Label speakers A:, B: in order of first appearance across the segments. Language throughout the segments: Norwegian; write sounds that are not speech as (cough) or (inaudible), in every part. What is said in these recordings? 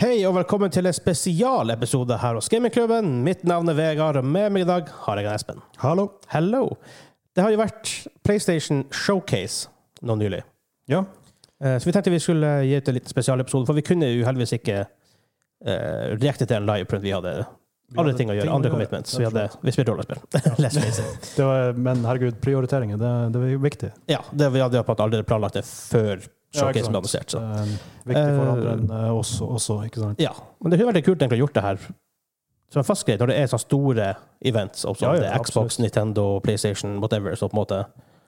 A: Hei og velkommen til en spesialepisode her hos Gamingklubben. Mitt navn er Vegard, og med meg i dag har jeg en Espen.
B: Hallo.
A: Hello! Det har jo vært PlayStation Showcase nå nylig.
B: Ja.
A: Eh, Så vi tenkte vi skulle gi ut en liten spesialepisode, for vi kunne jo heldigvis ikke eh, reagere til en liveprint. Vi hadde andre ting å gjøre, andre commitments. Vi, hadde, vi spilte rollespill. (laughs) Let's face it.
B: Det var, men herregud, prioriteringer, det, det er viktig.
A: Ja, det, vi hadde jo på en måte allerede planlagt det før
B: Ja,
A: showcasen
B: ikke sant.
A: ble annonsert. Så.
B: Det er viktig for
A: Eh,
B: andre enn eh, oss også, ikke sant?
A: Ja, men det kunne vært litt kult egentlig å gjort det her som en fast greie, når det er sånne store events, som
B: Ja, ja,
A: det er Xbox,
B: absolutt.
A: Nintendo, PlayStation, whatever, så på en måte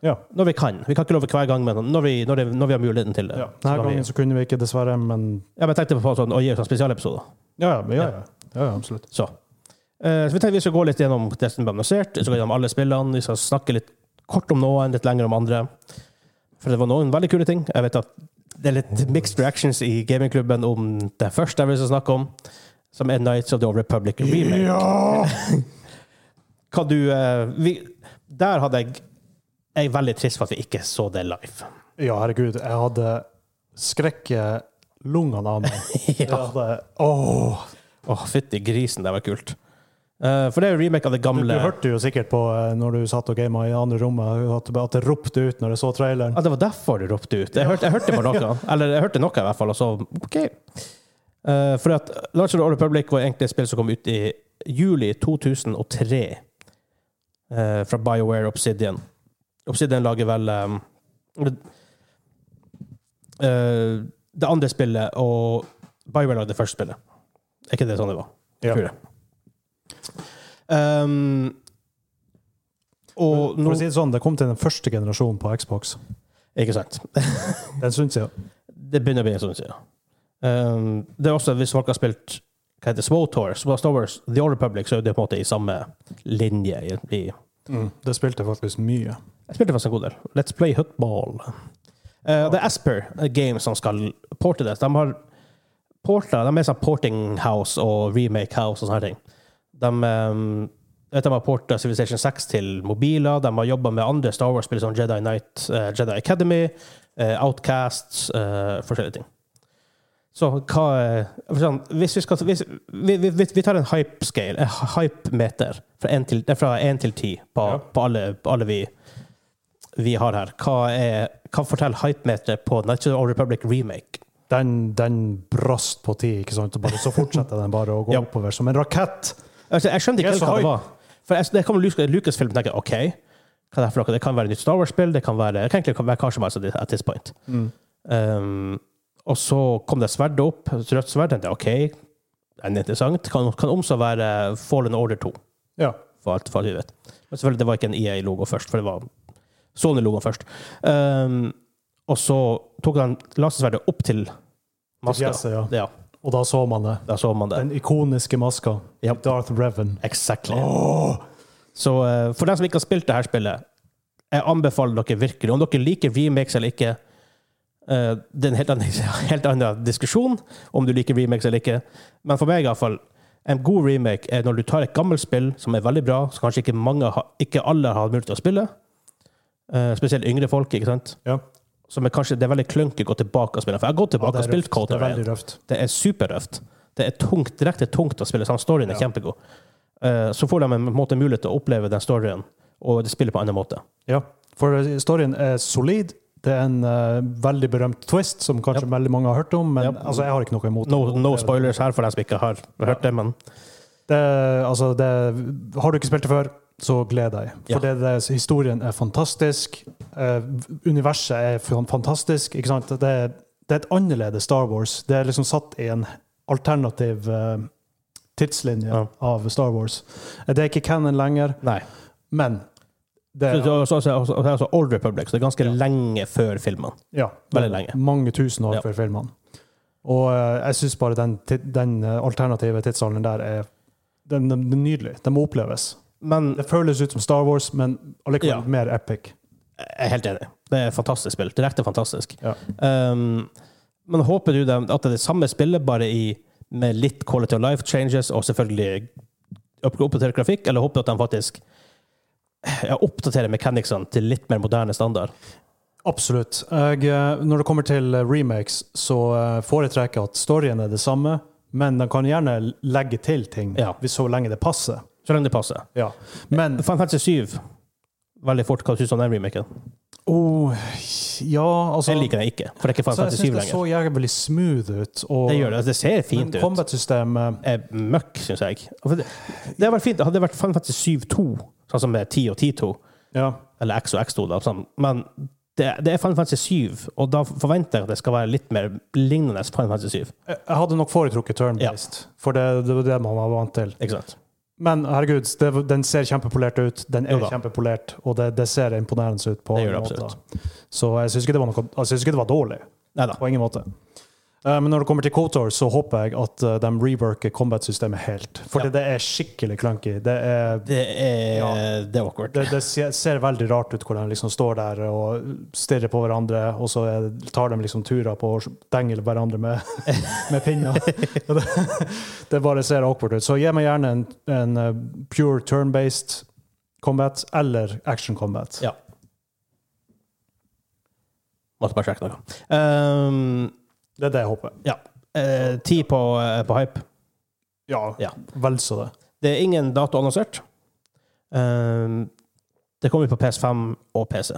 B: Ja.
A: Når vi kan. Vi kan ikke love hver gang, men når vi, når det, når vi har muligheten til det.
B: ja.
A: Så
B: Denne
A: kan vi,
B: gangen så kunne vi ikke, dessverre, men
A: ja, men jeg tenkte på sånn, å gi oss en spesialepisode.
B: Ja, ja, men ja, ja. ja, ja absolutt.
A: Så. Eh, så vi tenkte vi skal gå litt gjennom det som ble annonsert, vi skal gå gjennom alle spillene, vi skal snakke litt kort om noen, litt lenger om andre. For det var noen veldig kule ting. Jeg vet at det er litt mixed reactions i gamingklubben om det første jeg vil snakke om, som er Nights of the Old Republic remake.
B: Ja!
A: Hva du eh, vi, Der hadde jeg Jeg er veldig trist for at vi ikke så det
B: (laughs)
A: live.
B: ja, herregud, jeg hadde skrekk i lungene av meg.
A: (laughs)
B: Jeg
A: ja.
B: hadde, åh.
A: Åh, fytti grisen, det var kult. Eh, for det er jo remake av det
B: Du,
A: gamle
B: du hørte jo sikkert på eh, når du satt og gamet i andre rommet, at, at det ropte ut når jeg så traileren.
A: Ja, det var derfor du ropte ut. Jeg hørte, jeg hørte på noe. Eller jeg hørte noe, i hvert fall. Og så OK. Eh, for at Large of the Old Republic var egentlig et spill som kom ut i juli 2003. eh, fra BioWare Obsidian. Obsidian lager vel eh, eh, det andre spillet, og BioWare lagde det første spillet. Er ikke det sånn det var?
B: Ja.
A: Tror jeg. Um, og
B: For
A: nå
B: å si det sånn, det kom til den første generasjonen på Xbox.
A: Ikke sant?
B: Den synes jeg.
A: Det begynner å bli en stund siden. Um, det er også hvis folk har spilt hva heter det, Swotor, Star Wars, The Old Republic, så er det på en måte i samme linje. I, i.
B: Mm. Det spilte faktisk mye.
A: Jeg spilte faktisk en god del. Let's Play Hutball. Uh, det er Asper Games som skal porte det. De har porta, de er sånn Porting House og Remake House og sånne ting. De, um, jeg vet de har porta Civilization 6 til mobiler. De har jobba med andre Star Wars-spill som Jedi Knight, eh, Jedi Academy, eh, Outcasts, eh, forskjellige ting. Så hva er- for sånn, Hvis vi skal hvis, vi, vi, vi- vi tar en hype-scale, en hype-meter, fra én til, eh, fra en til ti på,
B: Ja.
A: på alle, på alle vi, vi har her. Hva, er, hva forteller hype-meteret på Night of the Old Republic remake?
B: den, den brast på ti, ikke sant? Og bare, så fortsetter den bare å gå
A: (laughs) Ja.
B: oppover som en rakett.
A: Altså, jeg skjønte ikke
B: Jeg
A: helt
B: er så
A: hva det
B: hype.
A: var. For jeg, det kom Lucas- Lucasfilm og tenkte OK, hva er det, her for noe? det kan være et nytt Star Wars-spill, det kan være det kan egentlig være hva som helst at this- at this point. Um, og så kom det sverdet opp, et rødt sverd. tenkte jeg, OK, det er interessant. Kan, kan omså være Fallen Order 2,
B: Ja.
A: for alt, for alt vi vet. Men selvfølgelig, det var ikke en EA-logo først, for det var Sony-logoen først. Um, og så tok han lasersverdet opp til maska.
B: Fjeset, ja.
A: Ja,
B: Og da så man det.
A: da så man det.
B: Den ikoniske maska.
A: Ja.
B: Darth Revan.
A: Exactly. Så eh, for dem som ikke har spilt det her spillet, jeg anbefaler dere virkelig, om dere liker remakes eller ikke, eh, det er en helt annen, (laughs) helt annen diskusjon om du liker remakes eller ikke, men for meg i hvert fall, en god remake er når du tar et gammelt spill som er veldig bra, som kanskje ikke, mange, har- ikke alle har mulighet til å spille, eh, spesielt yngre folk, ikke sant?
B: Ja.
A: Som er kanskje, det er veldig klønke å gå tilbake og spille, for jeg har gått tilbake og spilt
B: det
A: Cold
B: er
A: War
B: veldig røft.
A: det er superrøft. Det er tungt, direkte tungt å spille, sånn storyen er
B: Ja.
A: kjempegod. Eh, så får de en måte mulighet til å oppleve den storyen og spille på en annen måte.
B: Ja. For storyen er solid. Det er en eh, veldig berømt twist som kanskje veldig mange har hørt om, men
A: Ja.
B: altså, jeg har ikke noe imot
A: No,
B: det.
A: no spoilers her for dem som ikke har hørt det, men
B: Det, altså, det, har du ikke spilt det før, så gled deg. For
A: Ja.
B: det, det, historien er fantastisk. eh, universet er fan- fantastisk. Ikke sant? Det, det er et annerledes Star Wars. Det er liksom satt i en alternativ eh, tidslinje
A: Ja.
B: av Star Wars. Det er ikke canon lenger,
A: nei.
B: men
A: Så,
B: det er,
A: så, så, så, så, så, så Old Republic, så det er ganske lenge før filmen.
B: ja,
A: veldig lenge.
B: mange tusen år
A: Ja.
B: før filmene. Og eh, jeg syns bare den, ti- den eh, alternative tidsalderen der er den, den, den er nydelig. Den må oppleves.
A: Men
B: Det føles ut som Star Wars, men allikevel
A: Ja.
B: mer epic.
A: jeg er helt enig. Det er et fantastisk spill. Direkte fantastisk.
B: Ja.
A: Um, men håper du dem- at det er det samme spillet, bare i, med litt quality of life changes og selvfølgelig opp- oppdatert grafikk, eller håper du at de faktisk ja, oppdaterer mechanicsene til litt mer moderne standard?
B: Absolutt. Jeg, eh, når det kommer til eh, remakes, så eh, foretrekker jeg at storyen er det samme, Men de kan gjerne legge til ting
A: Ja.
B: hvis så lenge det passer.
A: Så lenge det passer.
B: Ja. Men
A: Final Fantasy 7. Veldig fort hva du syns om den remaken.
B: oh, ja, altså
A: Jeg liker den ikke, for det er ikke Final
B: så Jeg
A: Fantasy 7
B: syns det
A: lenger.
B: så jævlig smooth ut. Og,
A: Det gjør det. Det ser fint
B: men
A: ut.
B: combat-systemet
A: Er møkk, syns jeg. For Det det hadde vært fint. Hadde det vært Final Fantasy 7-2, sånn som med 10 og 10-2,
B: Ja.
A: eller X og X2, da, sånn. men det, det er Final Fantasy 7, og da forventer jeg at det skal være litt mer lignende Final Fantasy 7.
B: Jeg jeg hadde nok foretrukket turn-based, for det, det var det man var vant til.
A: Ikke sant?
B: Men herregud, det, den ser kjempepolert ut. Den
A: Jo
B: er
A: da.
B: kjempepolert, og det, det ser imponerende ut på
A: Det gjør
B: alle
A: det
B: måter. Så jeg syns ikke, det var noe- altså, jeg synes ikke det var dårlig.
A: Nei da.
B: På ingen måte. Eh, Men når det kommer til Kotor, så håper jeg at eh, de reworker combat-systemet helt. For
A: Ja.
B: det er skikkelig clunky. Det, er,
A: Det er,
B: Ja.
A: det er awkward.
B: det, det ser ser veldig rart ut hvor de liksom står der og stirrer på hverandre, og så er- tar de liksom turer på å dengle hverandre med, (laughs) med pinner. Og det, det bare ser awkward ut. Så gi meg gjerne en, en eh, pure turn-based combat eller action combat.
A: Ja. Måtte bare sjekke noe. Ehm,
B: Det er det jeg håper.
A: eh, Ti på, eh, på hype.
B: Ja,
A: Ja.
B: vel så det.
A: Det er ingen dato annonsert. Ehm, det kommer ut på PS5 og PC.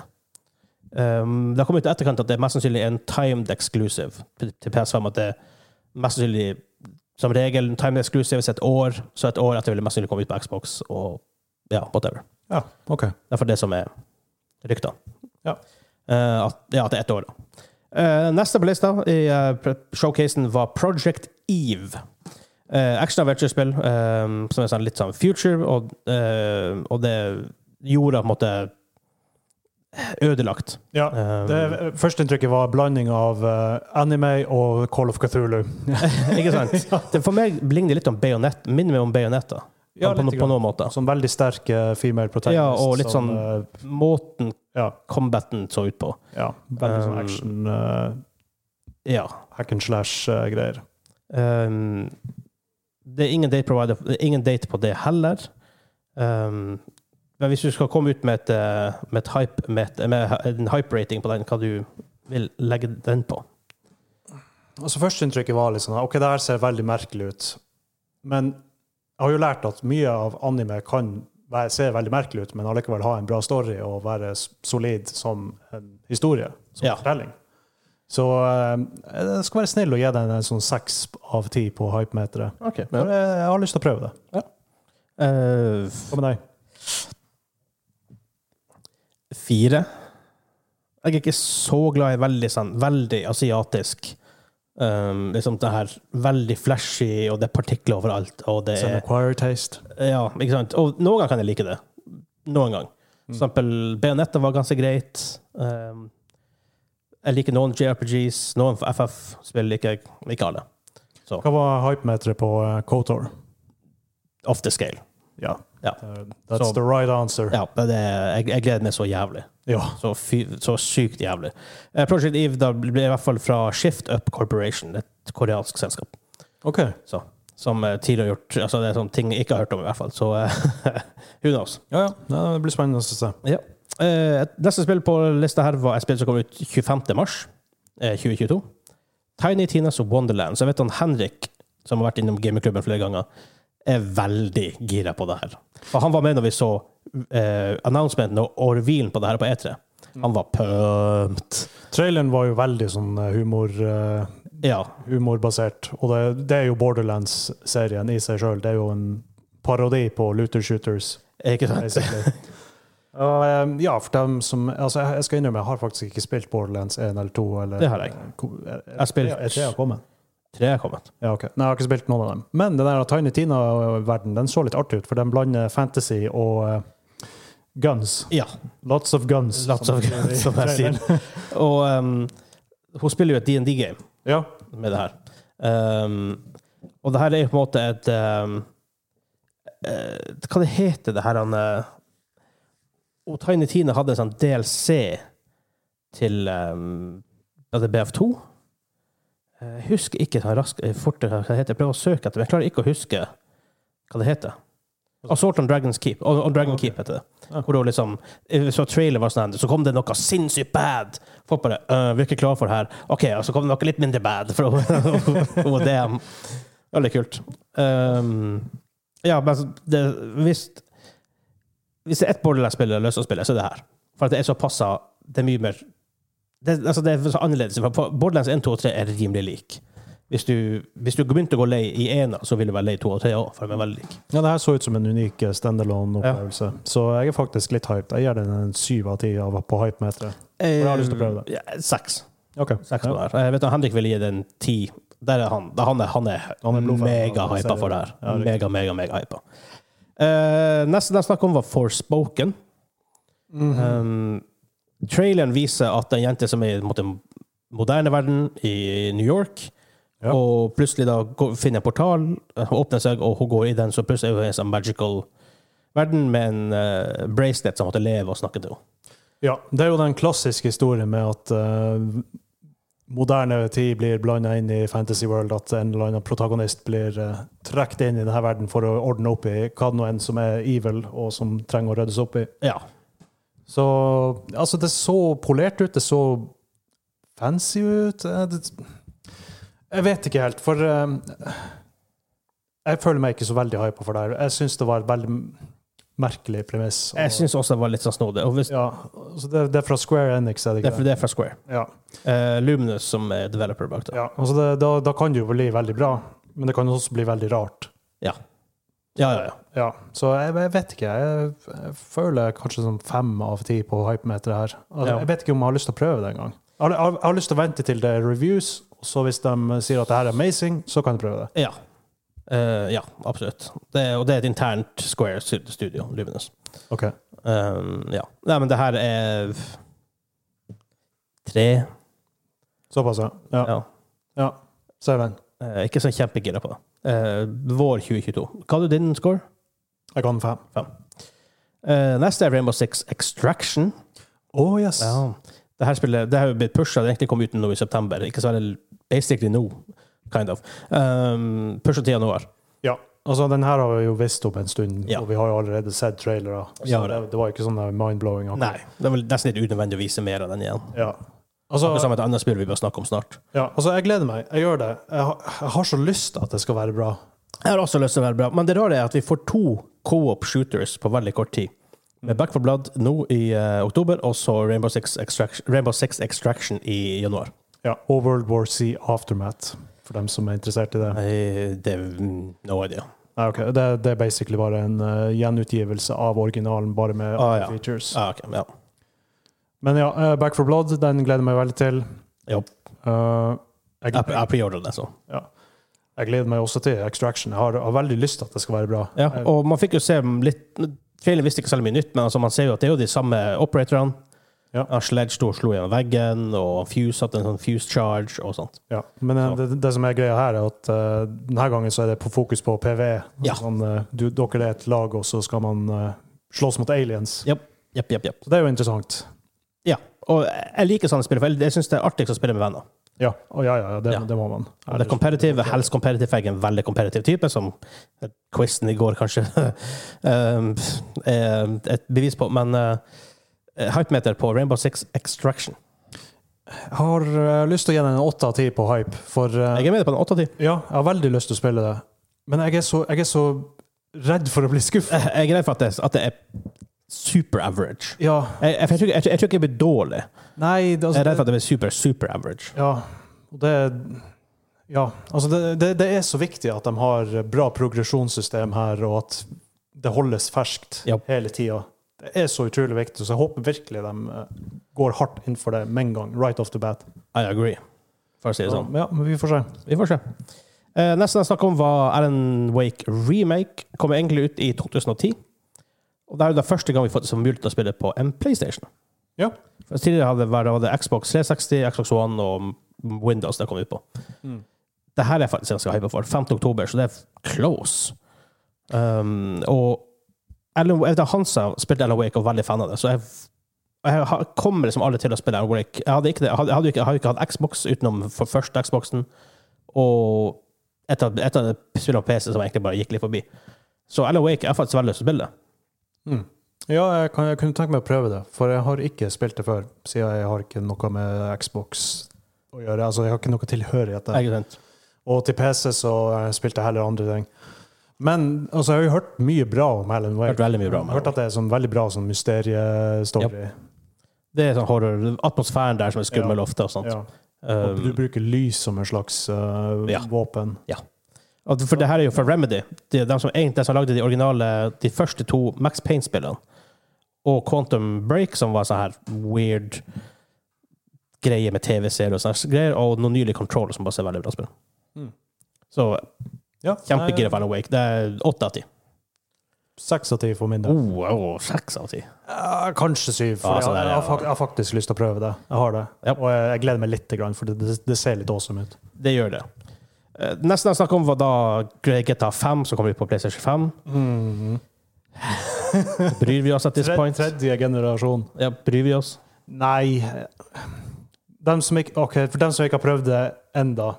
A: Ehm, det har kommet ut i etterkant at det er mest sannsynlig en timed exclusive til til PS5. At det er mest sannsynlig som regel en timed exclusive er et år, så et år etter vil det mest sannsynlig komme ut på Xbox og ja, whatever.
B: Ja, OK.
A: Det er for det som er ryktene.
B: Ja.
A: Eh, at, ja, til ett år, da. Eh, neste på lista i eh, pre- showcasen var Project Eve. Eh, action adventure-spill eh, som er sånn litt sånn future, og, eh, og det gjorde på en måte ødelagt.
B: Ja.
A: Eh,
B: Det Førsteinntrykket var blanding av eh, anime og Call of Cthulhu.
A: (laughs) ikke sant? Det, for meg ligner det litt om bajonett, minner meg om bajonetter.
B: (laughs) Ja,
A: på,
B: litt
A: på, på
B: grann.
A: noen måter.
B: Som veldig sterk eh, female protagonist.
A: Ja, og litt
B: som,
A: sånn-
B: eh,
A: Måten
B: ja,
A: combaten så ut på.
B: ja, veldig sånn
A: Um,
B: action, eh,
A: Ja.
B: hack and eh, slash-greier.
A: Um, det er ingen date provider, det er ingen date på det heller. Um, men hvis du skal komme ut med, et, eh, med, et hype, med, et, med en hype-rating på den, hva du vil legge den på?
B: altså Førsteinntrykket var litt sånn OK, det her ser veldig merkelig ut. Men jeg har jo lært at mye av anime kan være- se veldig merkelig ut, men allikevel ha en bra story og være s- solid som en historie, som
A: Ja.
B: fortelling. Så eh, jeg skal være snill og gi den en sånn seks av ti på hypemeteret. For Jeg jeg har lyst til å prøve det.
A: Uh,
B: Hva med deg?
A: fire. Jeg er ikke så glad i veldig, sånn, veldig asiatisk. Um, liksom det her veldig flashy, og det er partikler overalt. Og det
B: It's an
A: er
B: acquired taste.
A: Ja, ikke sant? Og noen ganger kan jeg like det. Noen gang. For
B: Mm.
A: eksempel Bayonetta var ganske greit. Um, jeg liker noen JRPGs, noen FF-spill liker jeg. Ikke alle.
B: Hva var hypemeteret på eh, Kotor?
A: Off the scale.
B: Ja.
A: Ja.
B: Eh, That's
A: Så-
B: the right answer.
A: Ja, men det, jeg, jeg gleder meg så jævlig.
B: Ja.
A: Så, fy, så sykt jævlig. Eh, Project Eve da ble i hvert fall fra Shift Up Corporation, et koreansk selskap,
B: OK.
A: som eh, tidligere har gjort altså Det er sånne ting jeg ikke har hørt om, i hvert fall. Så eh, (laughs) who knows?
B: Ja, ja. Det blir spennende å se.
A: Eh, et- neste spill på lista her var et spill som kom ut 25. mars eh, 2022. Tiny Tinas Wonderland. Så jeg vet han Henrik, som har vært innom gamingklubben flere ganger, er veldig gira på det her. For han var med når vi så eh, announcementen og orvilen på det her på E3. Han var pumped.
B: Traileren var jo veldig sånn eh, humor, eh,
A: Ja.
B: humorbasert. Og det, det er jo Borderlands-serien i seg sjøl. Det er jo en parodi på Luther Shooters.
A: Ikke sant?
B: basically.
A: (laughs)
B: Og, eh, ja, for dem som Altså, jeg, jeg skal innrømme, jeg har faktisk ikke spilt Borderlands 1 eller 2. Eller, Eh,
A: Det har jeg.
B: Jeg
A: har spilt-
B: har kommet.
A: Tre er kommet.
B: Ja, ok. Nei, jeg har ikke spilt noen av dem. Men den der Tiny Tina-verdenen den så litt artig ut, for den blander fantasy og eh, guns.
A: Ja.
B: Lots of guns.
A: Lots of guns, som jeg
B: traileren.
A: (laughs) Og ehm, hun spiller jo et DND-game.
B: Ja.
A: med det her. Um, og det her er jo på en måte et um, eh, Hva det heter det her han eh, og Tiny Tina hadde en sånn DLC til um, var det BF2. Jeg husker ikke sånn raskt eh, fort hva det heter. Jeg prøver å søke etter, men jeg klarer ikke å huske hva det heter. Assault on Dragon's Keep. On, on Dragon Keep heter det.
B: Ja.
A: Hvor det var liksom, eh, så trailer var sånn her, så kom det noe sinnssykt bad. Folk bare (laughs) øh, Vi er ikke klare for det her. OK, og så kom det noe litt mindre bad. For, og det, Veldig kult. Ehm, ja, men altså, det, hvis, hvis det er ett Borderlands-spill det er løst å spille, så er det her. For at det er så passa Det er mye mer det, altså, det er så annerledes. For Borderlands 1, 2 og 3 er rimelig lik. Hvis du, hvis du begynte å gå lei i ena, så vil du være lei i to og tre òg, for de er veldig like.
B: Ja, det her så ut som en unik eh, standalone-opplevelse. Så jeg er faktisk litt hyped. Jeg gir den en syv av ti av- på hypemeteret. jeg har lyst til å prøve det.
A: Eh, Ja, seks.
B: Okay.
A: seks på det
B: Ja.
A: her. Jeg Eh, vet at Henrik ville gi det en ti. Der er han. Da han er, han er,
B: Han er blodfan.
A: megahypa for det her.
B: Ja, riktig.
A: mega, mega, mega hypa. Eh, neste jeg snakket om, var Forspoken.
B: Mhm.
A: Um, traileren viser at en jente som er i måte, den moderne verden, i New York,
B: Ja.
A: og plutselig da går, finner en portal, eh, åpner seg, og hun går i den, så plutselig er hun i en sånn magical verden med en eh, bracelet som måtte leve og snakke til henne.
B: Ja, det er jo den klassiske historien med at eh, moderne tid blir blanda inn i Fantasy World, at en eller annen protagonist blir uh, trukket inn i denne verden for å ordne opp i hva det nå enn som er evil, og som trenger å ryddes opp i.
A: Ja.
B: Så altså, det så polert ut, det så fancy ut. eh, Det, jeg vet ikke helt, for eh, jeg føler meg ikke så veldig hypa for det her. Jeg syns det var et veldig merkelig premiss. og-
A: Jeg syns også det var litt sånn snodig. Og hvis,
B: ja, så det, det er fra Square Enix, er det
A: det,
B: ikke
A: er,
B: det?
A: det er fra Square.
B: Ja.
A: Eh, Luminous som er developer bak det.
B: ja. Altså det, da, da kan det jo bli veldig bra, men det kan også bli veldig rart.
A: Ja, ja, ja.
B: Ja, Så jeg, jeg vet ikke. Jeg, jeg føler kanskje sånn fem av ti på hypemeteret her. Altså,
A: Ja.
B: Jeg vet ikke om jeg har lyst til å prøve det engang. Jeg, har- jeg, har- jeg har lyst til å vente til det er reviews, og så hvis de sier at det her er amazing, så kan jeg prøve det.
A: ja. Eh, ja, absolutt. Det, er- og det er et internt Square-studio, Luminous.
B: Ok.
A: Um, ja. Nei, men det her er f- tre.
B: Såpass, ja.
A: Ja.
B: ja. Ser den.
A: Eh, ikke så kjempegira på det. Eh, vår 2022. Hva hadde din score?
B: Jeg kan fem.
A: Eh, neste er Rainbow Six Extraction.
B: Oh, yes.
A: Det her spillet det her har jo blitt pusha. Det egentlig kom ut nå i september. Ikke så veldig basically nå, kind of. Um, pusha til januar.
B: Altså, den her har vi jo visst om en stund,
A: Ja.
B: og vi har jo allerede sett trailere. Så
A: Ja,
B: det,
A: det-
B: det var ikke sånn der mind-blowing. akkurat.
A: Nei. Det er vel nesten litt unødvendig å vise mer av den igjen.
B: Ja.
A: Akkurat
B: Altså,
A: som et annet spill vi bør snakke om snart.
B: ja, altså, jeg gleder meg. Jeg gjør det. Jeg har, jeg har så lyst til at det skal være bra.
A: Jeg har også lyst til å være bra, men det rare er at vi får to co-op shooters på veldig kort tid. Med Back for Blood nå i eh, oktober, og så Rainbow Six, Extraction, Rainbow Six Extraction i januar.
B: Ja, og World War C Aftermath, for dem som er interessert i det.
A: Eh, Det er no idea.
B: Nei, ok, Det, det er basically bare en eh, gjenutgivelse av originalen, bare med
A: Ah,
B: andre
A: ja.
B: features.
A: Ah, ok, ja.
B: Men ja, eh, Back for Blood, den gleder jeg meg veldig til.
A: Jo.
B: Eh, jeg,
A: Jeg, jeg preordrer det, så.
B: jeg gleder meg også til Extraction. Jeg har, har veldig lyst til at det skal være bra. Eh,
A: Ja,
B: Jeg-
A: og man fikk jo se litt Traileren visste ikke særlig mye nytt, men altså man ser jo at det er jo de samme operatorene.
B: Ja.
A: Ja, Sledge sto og slo gjennom veggen, og Fuse hadde en sånn Fuse Charge og sånt.
B: Ja, men eh, det, det som er greia her, er at eh, denne gangen så er det på fokus på PV.
A: Ja.
B: Sånn, eh, du, dere er et lag, og så skal man eh, slåss mot aliens.
A: Japp, japp, japp, japp.
B: Så det er jo interessant.
A: Ja, og jeg liker sånne spill, for jeg- jeg syns det er artigst å spille med venner.
B: Ja, og ja, ja, ja, det,
A: Ja.
B: det må man.
A: Og det er competitive, helst competitive. Jeg er en veldig competitive type, som quizen i går kanskje (laughs) um, er et bevis på. Men uh, hypemeter på Rainbow Six Extraction.
B: Jeg har eh, lyst til å gi den en åtte av ti på hype, for eh,
A: Jeg er med på en 8 av 10.
B: ja, jeg har veldig lyst til å spille det. Men jeg er så, jeg er så redd for å bli skuffa.
A: Eh, Jeg er redd for at det, at det er super average.
B: Ja,
A: Jeg, jeg, tror ikke- jeg, tror- jeg tror ikke det blir dårlig.
B: nei det,
A: Jeg er redd for
B: altså,
A: at det blir super, super average.
B: Ja, og det Ja, altså det, det, det er så viktig at de har bra progresjonssystem her, og at det holdes ferskt
A: Ja.
B: hele tida. Det er så utrolig viktig, så jeg håper virkelig de eh, går hardt inn for det med en gang. Right off the bat.
A: I agree, for å si det
B: Så,
A: sånn.
B: ja, men vi får se.
A: Vi får se. Eh, neste jeg snakker om, var Alan Wake Remake. Kom egentlig ut i 2010. Og det er jo da første gang vi har fått det som mulighet til å spille på en PlayStation.
B: Ja.
A: For tidligere hadde det vært hadde Xbox 360, Xbox One og Windows det kom ut på. Det her er jeg faktisk ganske hypa for. 5. oktober, så det er close. Um, og Alan, jeg vet, at Hansa spilte Alan Wake og var veldig fan av det, så jeg, jeg har- kommer liksom aldri til å spille Alan Wake. Jeg hadde ikke, det, jeg hadde, jeg hadde ikke, jeg har ikke hatt Xbox utenom for første Xboxen, og et av, et av spillene på PC som egentlig bare gikk litt forbi. Så Alan Wake jeg har faktisk veldig lyst til å spille.
B: Mm. Ja, jeg, kan, jeg kunne tenke meg å prøve det, for jeg har ikke spilt det før. Siden jeg har ikke noe med Xbox å gjøre. Altså, jeg har ikke noe tilhørighet der.
A: Ikke sant?
B: Og til PC så eh, spilte jeg heller andre ting. Men altså, jeg har jo hørt mye bra om Alan Wake.
A: Hørt veldig mye bra om Alan
B: Hørt at det er sånn veldig bra sånn mysteriestory.
A: Det er sånn horror, atmosfæren der som er skummel ofte. og sånt.
B: Ja. Og
A: Um,
B: du bruker lys som en slags eh,
A: Ja.
B: våpen.
A: at- for det her er jo fra Remedy, det er de som egentlig de som lagde de originale, de første to Max Payne-spillene. Og Quantum Break, som var sånn her weird greie med TV-serier og sånne greier. Og noe nylig Control, som bare ser veldig bra spill.
B: Mm. Eh.
A: Så
B: Ja,
A: kjempegira for Alan Wake. Det er åtte av ti.
B: Seks av ti for min del.
A: Oh, oh, seks av ti.
B: Eh, kanskje syv. For
A: Ja, sånn
B: jeg,
A: er det,
B: jeg,
A: ja.
B: har fak- jeg har faktisk lyst til å prøve det. Jeg har det.
A: Ja.
B: Og jeg, jeg gleder meg litt, grann, for det, det, det ser litt awesome ut.
A: Det gjør det. Eh, Nesten jeg snakket om, var da GTA 5, som kommer ut på PlayStation 5.
B: Mhm.
A: Bryr vi oss at this
B: Tre,
A: point?
B: tredje generasjon.
A: Ja, bryr vi oss?
B: Nei dem som ikke, Ok, for dem som ikke har prøvd det enda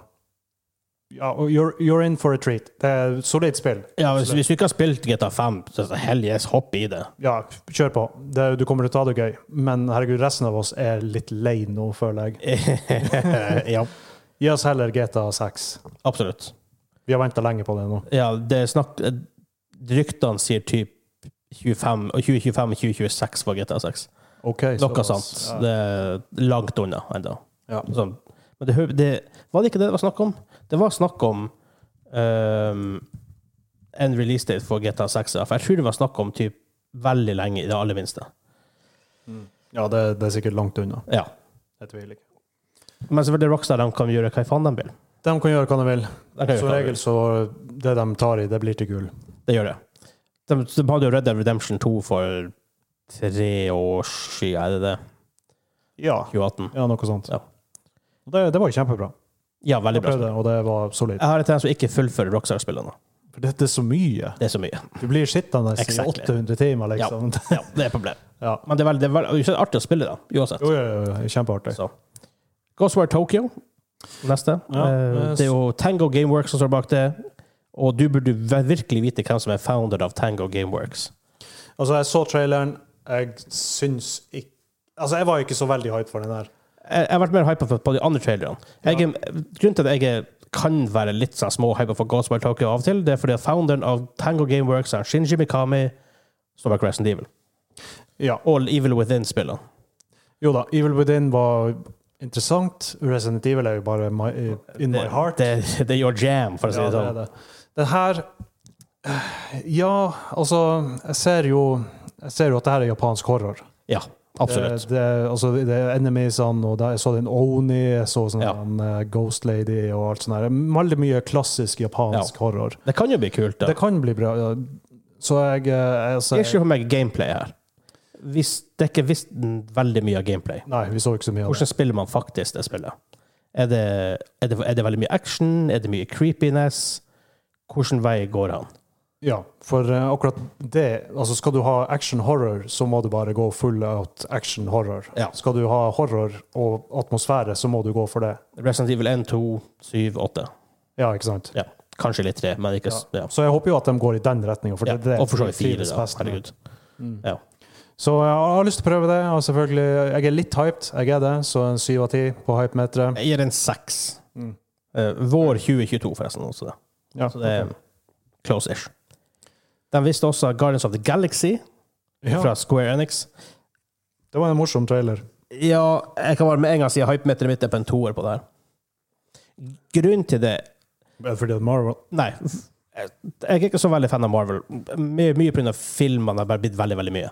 B: ja, og you're, you're in for a treat. Det er et solid spill.
A: Ja, hvis, hvis du ikke har spilt GTA 5, så så hell yes, hopp i det.
B: Ja, kjør på. Det, du kommer til å ta det gøy. Men herregud, resten av oss er litt lei nå, føler jeg.
A: (laughs) ja,
B: Gi oss heller GTA 6.
A: absolutt.
B: Vi har venta lenge på det nå.
A: Ja, det er snakk... eh, Ryktene sier typ 25 og 2025-2026 var GTA 6.
B: Okay,
A: Noe
B: så-
A: sånt.
B: ja.
A: Det er langt unna ennå.
B: Ja.
A: Sånn. Men det, hø- det var det ikke det det var snakk om? Det var snakk om ehm, en release date for GTA 6. For jeg tror det var snakk om typ veldig lenge, i det aller minste.
B: Mm. Ja, det, det er sikkert langt unna.
A: Ja.
B: Jeg tviler ikke.
A: Men selvfølgelig Rockstar de kan gjøre hva faen de vil.
B: De kan gjøre hva de vil.
A: De kan gjøre
B: Som
A: hva de
B: regel
A: vil.
B: så Det de tar i, det blir til gull.
A: Det gjør det. De, de hadde jo Red Dead Redemption 2 for tre år siden, er det det?
B: Ja.
A: 2018.
B: ja noe sånt.
A: Ja.
B: Og Det, det var jo kjempebra.
A: Ja, veldig
B: Jeg
A: bra.
B: prøvde,
A: spill.
B: og det var solid.
A: Jeg har en tendens til å ikke fullføre Rockstar-spillene.
B: For det, det er så mye.
A: Det er så mye.
B: Du blir sittende i
A: Exactly.
B: 800 timer, liksom. (laughs)
A: Ja, (laughs) det er et problem.
B: Ja.
A: Men det er veldig, det er veldig det er artig å spille, da. Uansett.
B: Jo, jo, jo, jo. Kjempeartig.
A: Så. Ghostware Tokyo. Neste.
B: Ja,
A: Eh,
B: eh,
A: det er jo Tango Gameworks som står bak det. Og du burde ve- virkelig vite hvem som er founder av Tango Gameworks.
B: Altså, jeg så traileren. Jeg syns ikke Altså, jeg var ikke så veldig hyped for den der.
A: Jeg jeg har vært mer hypa på de andre trailerne. Jeg, er- Grunnen til at jeg er- kan være litt sånn småhypa for Ghostware Tokyo av og til, det er fordi at founderen av Tango Gameworks er Shinji Mikami, står bak Resident Evil.
B: Ja.
A: Og Evil Within-spillene.
B: Jo da, Evil Within var interessant. Resident Evil er jo bare my, eh, in my heart.
A: Det, det er your jam, for å si
B: Ja,
A: det
B: det er
A: sånn.
B: det. Den her Ja, altså Jeg ser jo, jeg ser jo at det her er japansk horror.
A: Ja, absolutt.
B: Det, det, altså, det er Enemiesene, og da, jeg så den Oni, jeg så sånn
A: Ja.
B: eh, Ghost Lady og alt sånt. Der. Veldig mye klassisk japansk horror.
A: Det kan jo bli kult, da.
B: Det kan bli bra. ja. Så jeg, eh, altså,
A: Ikke for meg gameplay her. Hvis, det er ikke visst veldig mye av gameplay.
B: Nei, vi så ikke så mye av det.
A: Hvordan spiller man faktisk det spillet? Er det, er det, er det veldig mye action? Er det mye creepiness? Hvilken vei går han?
B: Ja, for eh, akkurat det altså Skal du ha action horror, så må du bare gå full out action horror.
A: Ja.
B: Skal du ha horror og atmosfære, så må du gå for det.
A: Resident Evil 1, 2, 7, 8.
B: Ja, ikke sant?
A: Ja. Kanskje litt 3, men ikke s- ja.
B: Så jeg håper jo at de går i den retninga. For
A: Ja.
B: det, det er
A: Og for så vidt 4,
B: tidenes
A: da.
B: beste.
A: Herregud.
B: Mm.
A: Ja.
B: Så jeg har lyst til å prøve det. Og selvfølgelig, jeg er litt hyped, jeg er det, så en syv av ti på hypemeteret.
A: Jeg gir en 6.
B: Mm.
A: Eh, vår 2022, forresten. Også det.
B: Ja,
A: Så det er close-ish. De visste også Guardians of the Galaxy
B: ja,
A: fra Square Enix.
B: det var en morsom trailer.
A: Ja, jeg kan bare med en gang si at hypemeteret mitt er på en toer på det her. Grunnen til det
B: Fordi at Marvel
A: Nei. Jeg er ikke så veldig fan av Marvel. Mye, mye pga. filmene har bare blitt veldig veldig mye.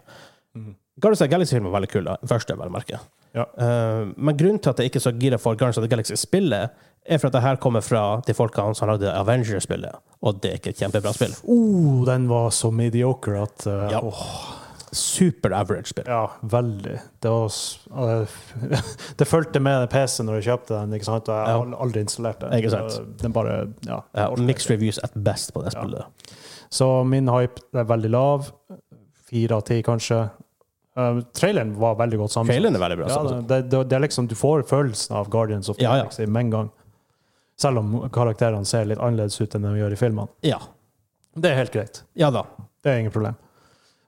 B: Mhm.
A: Guardians of the Galaxy-filmen var veldig kul, da. første, vel å merke.
B: Ja.
A: Eh, men grunnen til at jeg ikke er så gira for Guardians of the Galaxy-spillet, er for at det her kommer fra de folkene som lagde Avenger-spillet, og det er ikke et kjempebra spill.
B: oh, Den var så mediocre at eh,
A: Ja.
B: åh.
A: Super average spill.
B: Ja, veldig. Det, var, s- eh, (laughs) det fulgte med PC når jeg kjøpte den, ikke sant? og jeg har aldri installert den.
A: Ikke sant.
B: Så Den bare, ja.
A: Ja, mixed reviews at best på det
B: Ja.
A: spillet.
B: Så min hype er veldig lav. Fire av ti, kanskje. Eh, traileren var veldig godt
A: Ja.
B: sammen.
A: Traileren er veldig bra.
B: Ja,
A: sånn.
B: det, det, det er liksom, du får følelsen av Guardians of the
A: Ja, ja.
B: Galaxy med en gang. Selv om karakterene ser litt annerledes ut enn de gjør i filmene.
A: ja.
B: Det er helt greit.
A: ja da.
B: Det er ingen problem.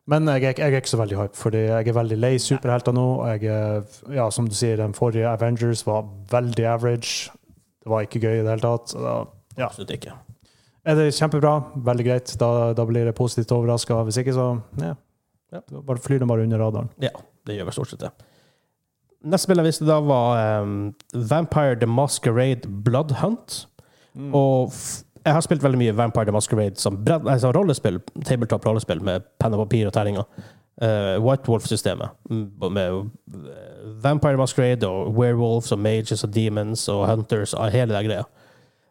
B: Men jeg, er ikke- jeg er ikke så veldig hype, fordi jeg er veldig lei superhelter nå. og Jeg, er- ja, som du sier, den forrige Avengers var veldig average. Det var ikke gøy i det hele tatt. så Da, Ja.
A: Absolutt ikke.
B: Er det kjempebra, veldig greit. Da, da blir jeg positivt overraska. Hvis ikke, så ja.
A: Ja.
B: Da Bare flyr det bare under radaren.
A: Ja, det gjør vel stort sett det. Neste spill jeg visste da, var eh, Vampire the Masquerade Blood Hunt. Og f jeg har spilt veldig mye Vampire the Masquerade som, brett- nei, som rollespill, tabletop-rollespill med penn og papir og terninger. Eh, White Wolf-systemet. mm, Med eh, Vampire the Masquerade og Werewolves og Mages og Demons og Hunters og hele den greia.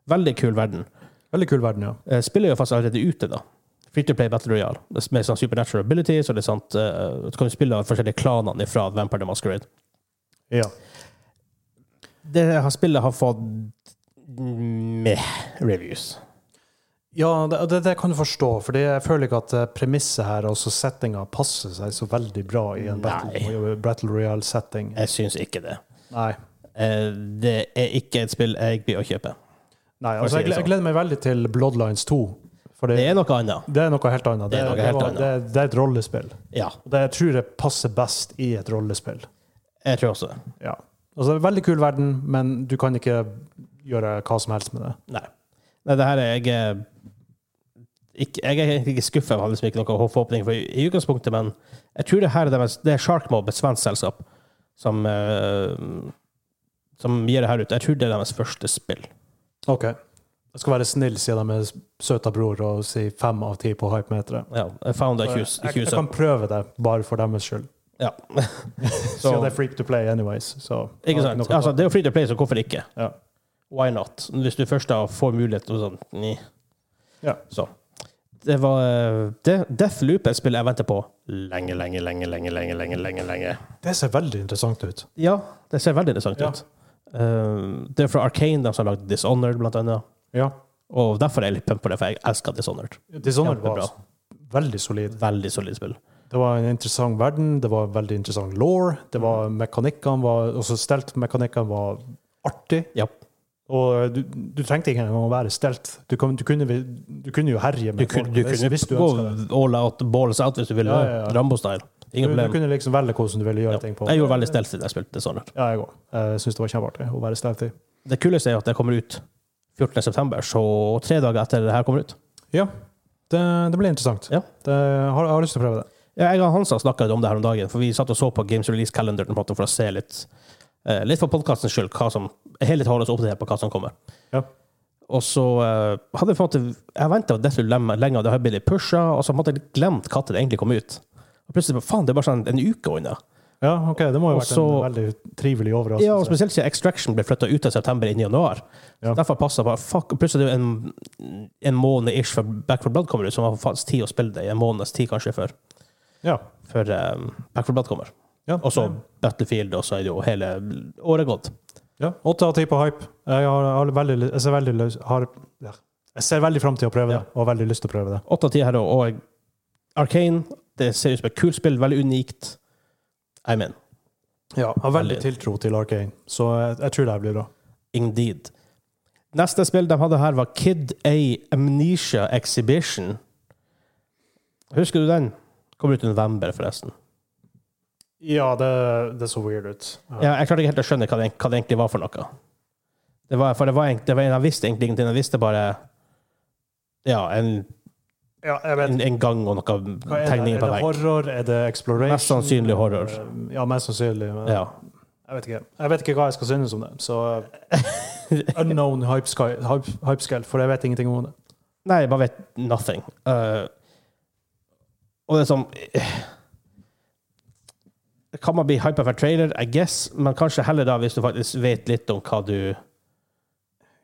A: Veldig kul verden.
B: Veldig kul verden, ja.
A: Eh, spillet er jo faktisk allerede ute, da. Free to play Battle Royale. Det er Med sånn supernatural abilities og litt sånt. eh, så kan du spille av forskjellige klanene fra Vampire the Masquerade.
B: ja.
A: Det her spillet har fått meh reviews.
B: Ja, det, det, det kan du forstå, for jeg føler ikke at eh, premisset her, altså settinga, passer seg så veldig bra i en battle, battle royale-setting.
A: Jeg syns ikke det.
B: Nei.
A: Eh, det er ikke et spill jeg blir å kjøpe.
B: Nei altså, jeg, gled- jeg gleder meg veldig til Bloodlines 2. For
A: Det
B: det,
A: er noe annet.
B: det er noe helt
A: Det
B: annet. Det,
A: er noe
B: det,
A: helt
B: var-
A: annet.
B: det, det er et rollespill.
A: Ja,
B: Og Det jeg tror jeg passer best i et rollespill.
A: jeg tror også det.
B: Ja. Altså, det er en veldig kul verden, men du kan ikke gjøre hva som helst med det.
A: Nei. Nei, det her er jeg eh, ikke, Jeg er egentlig ikke skuffa. Jeg har liksom ikke noe håpåpning for i, i utgangspunktet, men jeg tror det her er deres, det er Sharkmob, et svensk selskap, som, eh, som gir det her ut. Jeg tror det er deres første spill.
B: OK. Jeg skal være snill, sier de med søta bror, og si fem av ti på hypemeteret.
A: Ja, jeg found
B: Så
A: it
B: Jeg,
A: accus-
B: jeg, jeg
A: accuser.
B: kan prøve det, bare for deres skyld.
A: Ja.
B: Så
A: Så-
B: det er freak to play anyways. Så
A: Ikke sant? Altså, det er jo free to play, så hvorfor ikke?
B: Ja.
A: Why not? Hvis du først da får mulighet til sånn nei.
B: Ja.
A: Så. Det var eh, det, Deathloop er et spill jeg venter på lenge, lenge, lenge, lenge, lenge, lenge, lenge, lenge.
B: det ser veldig interessant ut.
A: Ja, det ser veldig interessant
B: Ja.
A: ut. Eh, det er fra Arcane, de som har lagd Dishonored, blant annet.
B: Ja.
A: Og derfor er jeg litt pumped på det, for jeg elsker Dishonored.
B: Dishonored var
A: Kjempebra.
B: veldig solid.
A: Veldig solid spill.
B: Det var en interessant verden, det var veldig interessant law. Det var
A: Mm.
B: mekanikkene var Også stelt-mekanikkene var artig.
A: Ja.
B: Og du, du trengte ikke engang å være stelt. Du, kan- du, kunne, du kunne jo herje
A: Du
B: med
A: kunne,
B: folk
A: du
B: hvis,
A: kunne
B: hvis du
A: gå
B: ønsket det.
A: all out, balls out hvis du ville.
B: Ja, ja, ja.
A: Rambo-style.
B: Du,
A: Ingen
B: du
A: problem.
B: kunne liksom velge hvordan du ville gjøre
A: Ja.
B: ting på.
A: Jeg gjorde veldig stelt siden jeg spilte Dishonored.
B: Ja, jeg òg. Jeg syns det var kjempeartig å være stealthy.
A: Det kuleste er jo at det kommer ut 14.9., så tre dager etter det her kommer ut.
B: Ja, det, det blir interessant.
A: Ja.
B: Det, jeg har, jeg har lyst til å prøve det.
A: Ja, Jeg og Hansa snakka om det her om dagen, for vi satt og så på Games Release Calendar på en måte, for å se litt eh, Litt for podkastens skyld, hva som hele tiden holde oss oppdatert på hva som kommer.
B: Ja.
A: Og så eh, hadde jeg på en måte Jeg venta dette lenge, lenge, og det har blitt litt pusha, og så hadde jeg glemt når det egentlig kom ut. Og plutselig bare, faen, det er bare sånn en uke unna.
B: Ja, ok, Det må jo
A: Og
B: ha vært
A: så-
B: en veldig trivelig overraskelse.
A: Ja, og spesielt siden Extraction ble flytta ut av september inn i januar.
B: Ja.
A: Så Derfor passet det bare fuck, Plutselig er det jo en, en måned ish før Back 4 Blood kommer ut, så man har faktisk tid å spille det i en måneds tid kanskje før,
B: Ja.
A: før um, Back 4 Blood kommer.
B: Ja.
A: Og så Battlefield, og så er det jo hele året gått.
B: Ja, Åtte av ti på hype. Jeg, har, jeg, har veldig, ly- jeg ser veldig løs- har, ja. Jeg ser veldig fram til å prøve det,
A: Ja.
B: og har veldig lyst til å prøve det.
A: Åtte av ti her, og Arcane Det ser ut som et kult spill, veldig unikt. I mean,
B: Ja, jeg har veldig
A: Veldig.
B: tiltro til Arcane, så jeg, jeg tror det her blir bra.
A: indeed. Neste spill de hadde her, var Kid A Amnesia Exhibition. Husker du den? Kommer ut i november, forresten.
B: Ja, det, det så weird ut. Ja.
A: Ja, jeg klarte ikke helt å skjønne hva det, hva det egentlig var for noe. Det var, for det var, egentlig- det var, jeg visste egentlig ingenting. Jeg visste bare ja, en,
B: Ja, jeg vet
A: en, en gang og noen
B: Hva er det?
A: tegninger
B: Er
A: på
B: det
A: vegg.
B: horror? Er det exploration?
A: Mest sannsynlig horror.
B: Eh, Ja, mest sannsynlig. Men
A: Ja.
B: jeg, vet ikke. jeg vet ikke hva jeg skal synes om det. Så
A: (laughs)
B: eh, unknown hype sky- hype- hype scale, for jeg vet ingenting om det.
A: Nei, jeg bare vet nothing. Eh, og det er sånn eh, Kan man bli hypa for trailer? I guess. Men kanskje heller da, hvis du faktisk vet litt om hva du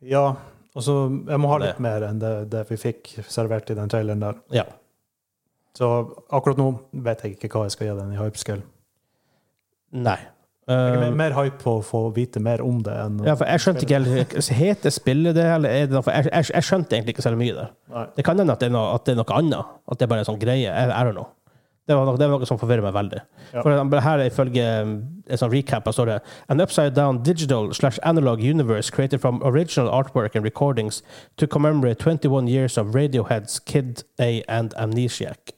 B: Ja, altså, jeg må ha
A: Det.
B: litt mer enn det, det vi fikk servert i den traileren der.
A: Ja.
B: Så akkurat nå vet jeg ikke hva jeg skal gi den i hypescale.
A: Nei.
B: Jeg er
A: Eh,
B: mer- mer hype på å få vite mer om det enn
A: ja, for jeg skjønte ikke helt Heter spillet det, eller er det noe for jeg, jeg, jeg skjønte egentlig ikke så mye der.
B: Nei.
A: Det kan hende at det er noe, at det er noe annet. At det er bare en sånn greie. I, I don't know. Det var, noe, det var noe som forvirrer meg veldig.
B: Ja.
A: For det her er ifølge um, en sånn recap her står det An upside down digital slash analog universe created from original artwork and recordings to commemorate 21 years of Radioheads Kid A and Amnesiac.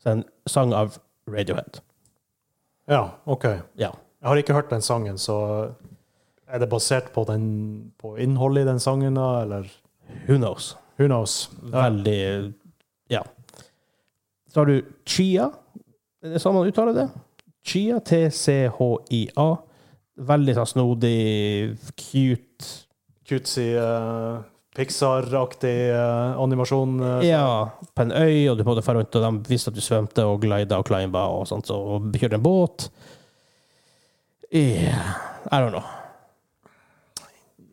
A: Så en sang av Radiohead.
B: Ja, OK.
A: Ja.
B: Jeg har ikke hørt den sangen, så er det basert på, den, på innholdet i den sangen, da, eller
A: Who knows?
B: Who knows? Ja.
A: Veldig Ja. Så har du Chia. Er det sånn man uttaler det? Chia. T-C-H-I-A. Veldig sånn snodig, cute
B: Cutesy, eh, Pixar-aktig eh, animasjon. eh.
A: Ja, på en øy, og du måtte fare rundt, og de visste at du svømte og glida og climba og sånt, så, og kjørte en båt. Yeah. I don't know.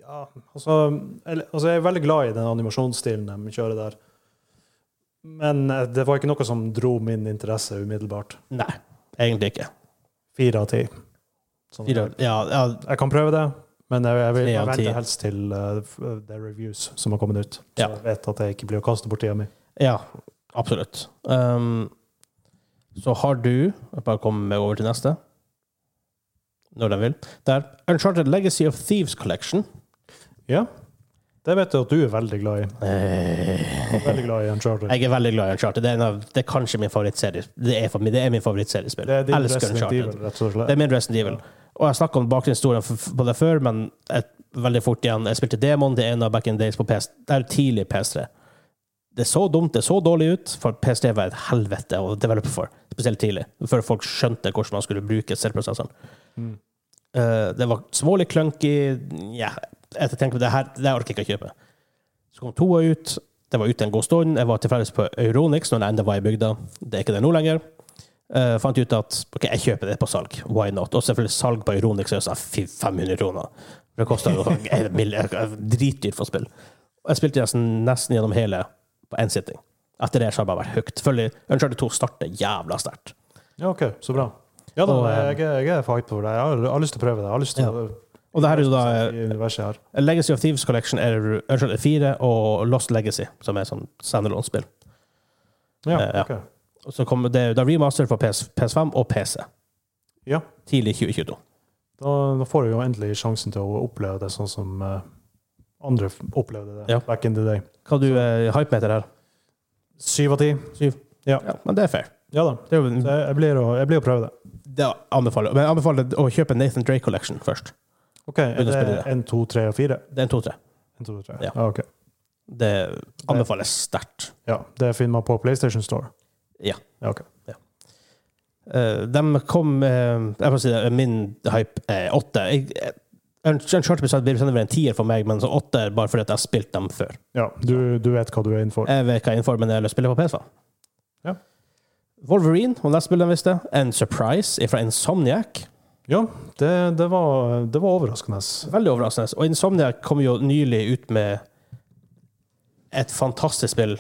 B: Ja, altså, eller, altså Jeg er veldig glad i den animasjonsstilen de kjører der. Men eh, det var ikke noe som dro min interesse umiddelbart.
A: Nei, egentlig ikke.
B: Fire av ti. Sånn.
A: Fire- Ja, ja,
B: Jeg kan prøve det, men jeg, jeg, vil,
A: Tre
B: jeg
A: av ti.
B: venter helst til eh, f- de reviews som har kommet ut. Så
A: Ja.
B: jeg vet at jeg ikke blir å kaste bort tida mi.
A: ja absolutt. Um, så har du jeg Bare kom meg over til neste. Når de vil. Der. Uncharted Legacy of Thieves Collection.
B: Ja. Det vet jeg at du er veldig glad i.
A: Eh,
B: Veldig glad i Uncharted.
A: Jeg er veldig glad i Uncharted. Det er, en av, det er kanskje min favorittserie. Det er, for meg, det er min favorittseriespill.
B: Det er din
A: Elsker
B: Resident
A: Uncharted.
B: Evil, rett og slett.
A: Det er min Resident Evil. Og jeg snakka om bakgrunnshistorien f- på det før, men jeg, veldig fort igjen. Jeg spilte Demon, det ene av back in days på PS, det er tidlig PS3. Det er så dumt, det er så dårlig ut, for PS3 var et helvete å develope for. Spesielt tidlig, før folk skjønte hvordan man skulle bruke selvprosessene.
B: Mm.
A: Eh, det var smålig clunky. Ja, etter tenker på det her, det orker jeg ikke å kjøpe. Så kom toa ut. Det var ute en god stund. Jeg var tilfeldigvis på Euronix når jeg enda var i bygda. Det er ikke det nå lenger. Eh, fant ut at ok, jeg kjøper det på salg. Why not? Og selvfølgelig salg på Euronix er jo sånn fy, 500 kroner. For Det koster jo (laughs) sånn en mill- eh, dritdyrt for spill. Og jeg spilte nesten, nesten gjennom hele på én sitting. Etter det så har det bare vært høyt. Selvfølgelig, Uncharted 2 starter jævla sterkt.
B: Ja, OK, så bra. Ja da,
A: Og, eh,
B: jeg, jeg er fight for det. Jeg har, jeg har lyst til å prøve det. Jeg har lyst til
A: Ja.
B: å
A: Og det her er jo da eh,
B: i universet her.
A: Legacy of Thieves Collection er Uncharted 4 og Lost Legacy, som er sånn standalone-spill.
B: Ja,
A: eh, ja.
B: ok.
A: Og Så kommer det, det er remaster for PS, PS5 og PC.
B: Ja.
A: Tidlig 2022.
B: Da, da får du jo endelig sjansen til å oppleve det sånn som eh, andre f- opplevde det
A: Ja.
B: back in the day.
A: Hva du eh, hype med etter her?
B: Syv av ti.
A: Ja, men det er fair.
B: Ja da.
A: Det, er jo-
B: Så jeg, jeg, blir å, jeg blir å prøve det.
A: det anbefaler jeg. Men jeg anbefaler å kjøpe Nathan Drake Collection først.
B: OK, er
A: Begynn å
B: det
A: spille det.
B: én, to, tre og fire?
A: Det er en to-tre.
B: En, to, tre.
A: Ja.
B: Ja. ok.
A: Det anbefales sterkt.
B: Ja, det finner man på PlayStation Store.
A: Eh, de kom eh, Jeg får si det, min hype er åtte. Jeg- jeg- Uncharted blir sendt over en tier for meg, men så åtte er bare fordi at jeg har spilt dem før.
B: Ja, du, du vet hva du er innenfor.
A: Jeg vet hva jeg er innenfor, men jeg har lyst til å spille på PS5.
B: Ja.
A: Wolverine, om det spillet jeg visste. En surprise fra Insomniac.
B: Ja, det, det, var, det var overraskende.
A: Veldig overraskende. Og Insomniac kom jo nylig ut med et fantastisk spill,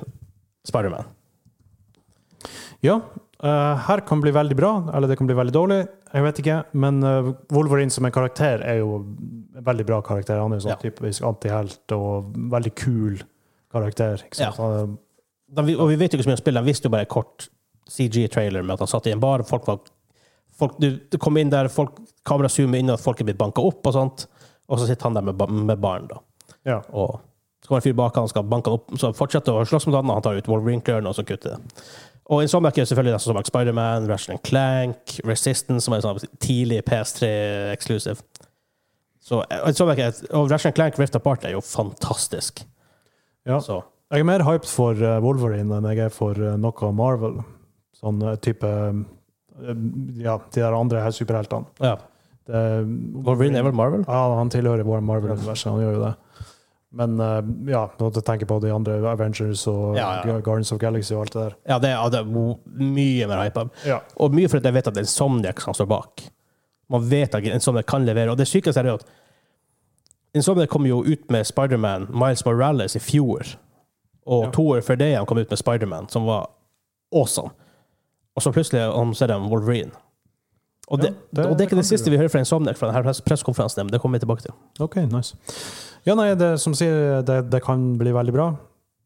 A: Spiderman.
B: Ja, eh, her kan bli veldig bra, eller det kan bli veldig dårlig. Jeg vet ikke, men eh, Wolverine som en karakter er jo en veldig bra karakter. Han er jo sånn
A: Ja.
B: typisk antihelt og veldig kul karakter. Ikke sant?
A: Ja.
B: Han er-
A: De, og vi vet jo ikke så mye om spillet, de visste jo bare en kort CG-trailer med at han satt i en bar. Folk var, folk, du, du kom inn der, folk, kamera zoomer inn, og folk er blitt banka opp og sånt. Og så sitter han der med, ba- med barn, da.
B: Ja.
A: Og så kommer en fyr bak han skal banke han opp, så han fortsetter å slåss mot han, og han tar ut Wolverine-klørne, og så kutter det. Og Insomniac er selvfølgelig nesten som bak Spiderman, Ratchet Clank, Resistance, som er en sånn tidlig PS3-exclusive. Så eh, Insomniac er- og Ratchet Clank Rift Apart er jo fantastisk.
B: Ja.
A: Så
B: Jeg er mer hyped for eh, Wolverine enn jeg er for eh, noe Marvel. Sånn eh, type eh, Ja, de der andre her superheltene.
A: ja.
B: Det-
A: Wolverine er vel Marvel?
B: Ja, han tilhører vår Marvel-universet, han gjør jo det. Men eh, ja, når du tenker på de andre Avengers og
A: Ja, ja, ja.
B: Guardians of Galaxy og alt det der.
A: Ja, det er, det er mo- mye mer hypa.
B: Ja.
A: Og mye fordi jeg vet at det er Insomniac som står bak. Man vet at Insomniac kan levere. Og det sykeste er jo at Insomniac kom jo ut med Spiderman, Miles Morales, i fjor. Og
B: Ja.
A: to år før det igjen kom ut med Spiderman, som var awesome. Og så plutselig omser de Wolverine. Og det,
B: Ja, det-
A: og det er
B: det
A: ikke
B: kan
A: det siste
B: bli
A: vi hører fra Insomniac fra denne pressekonferansen, men det kommer vi tilbake til.
B: Ok, nice. Ja, nei, det, som sier, det, det kan bli veldig bra.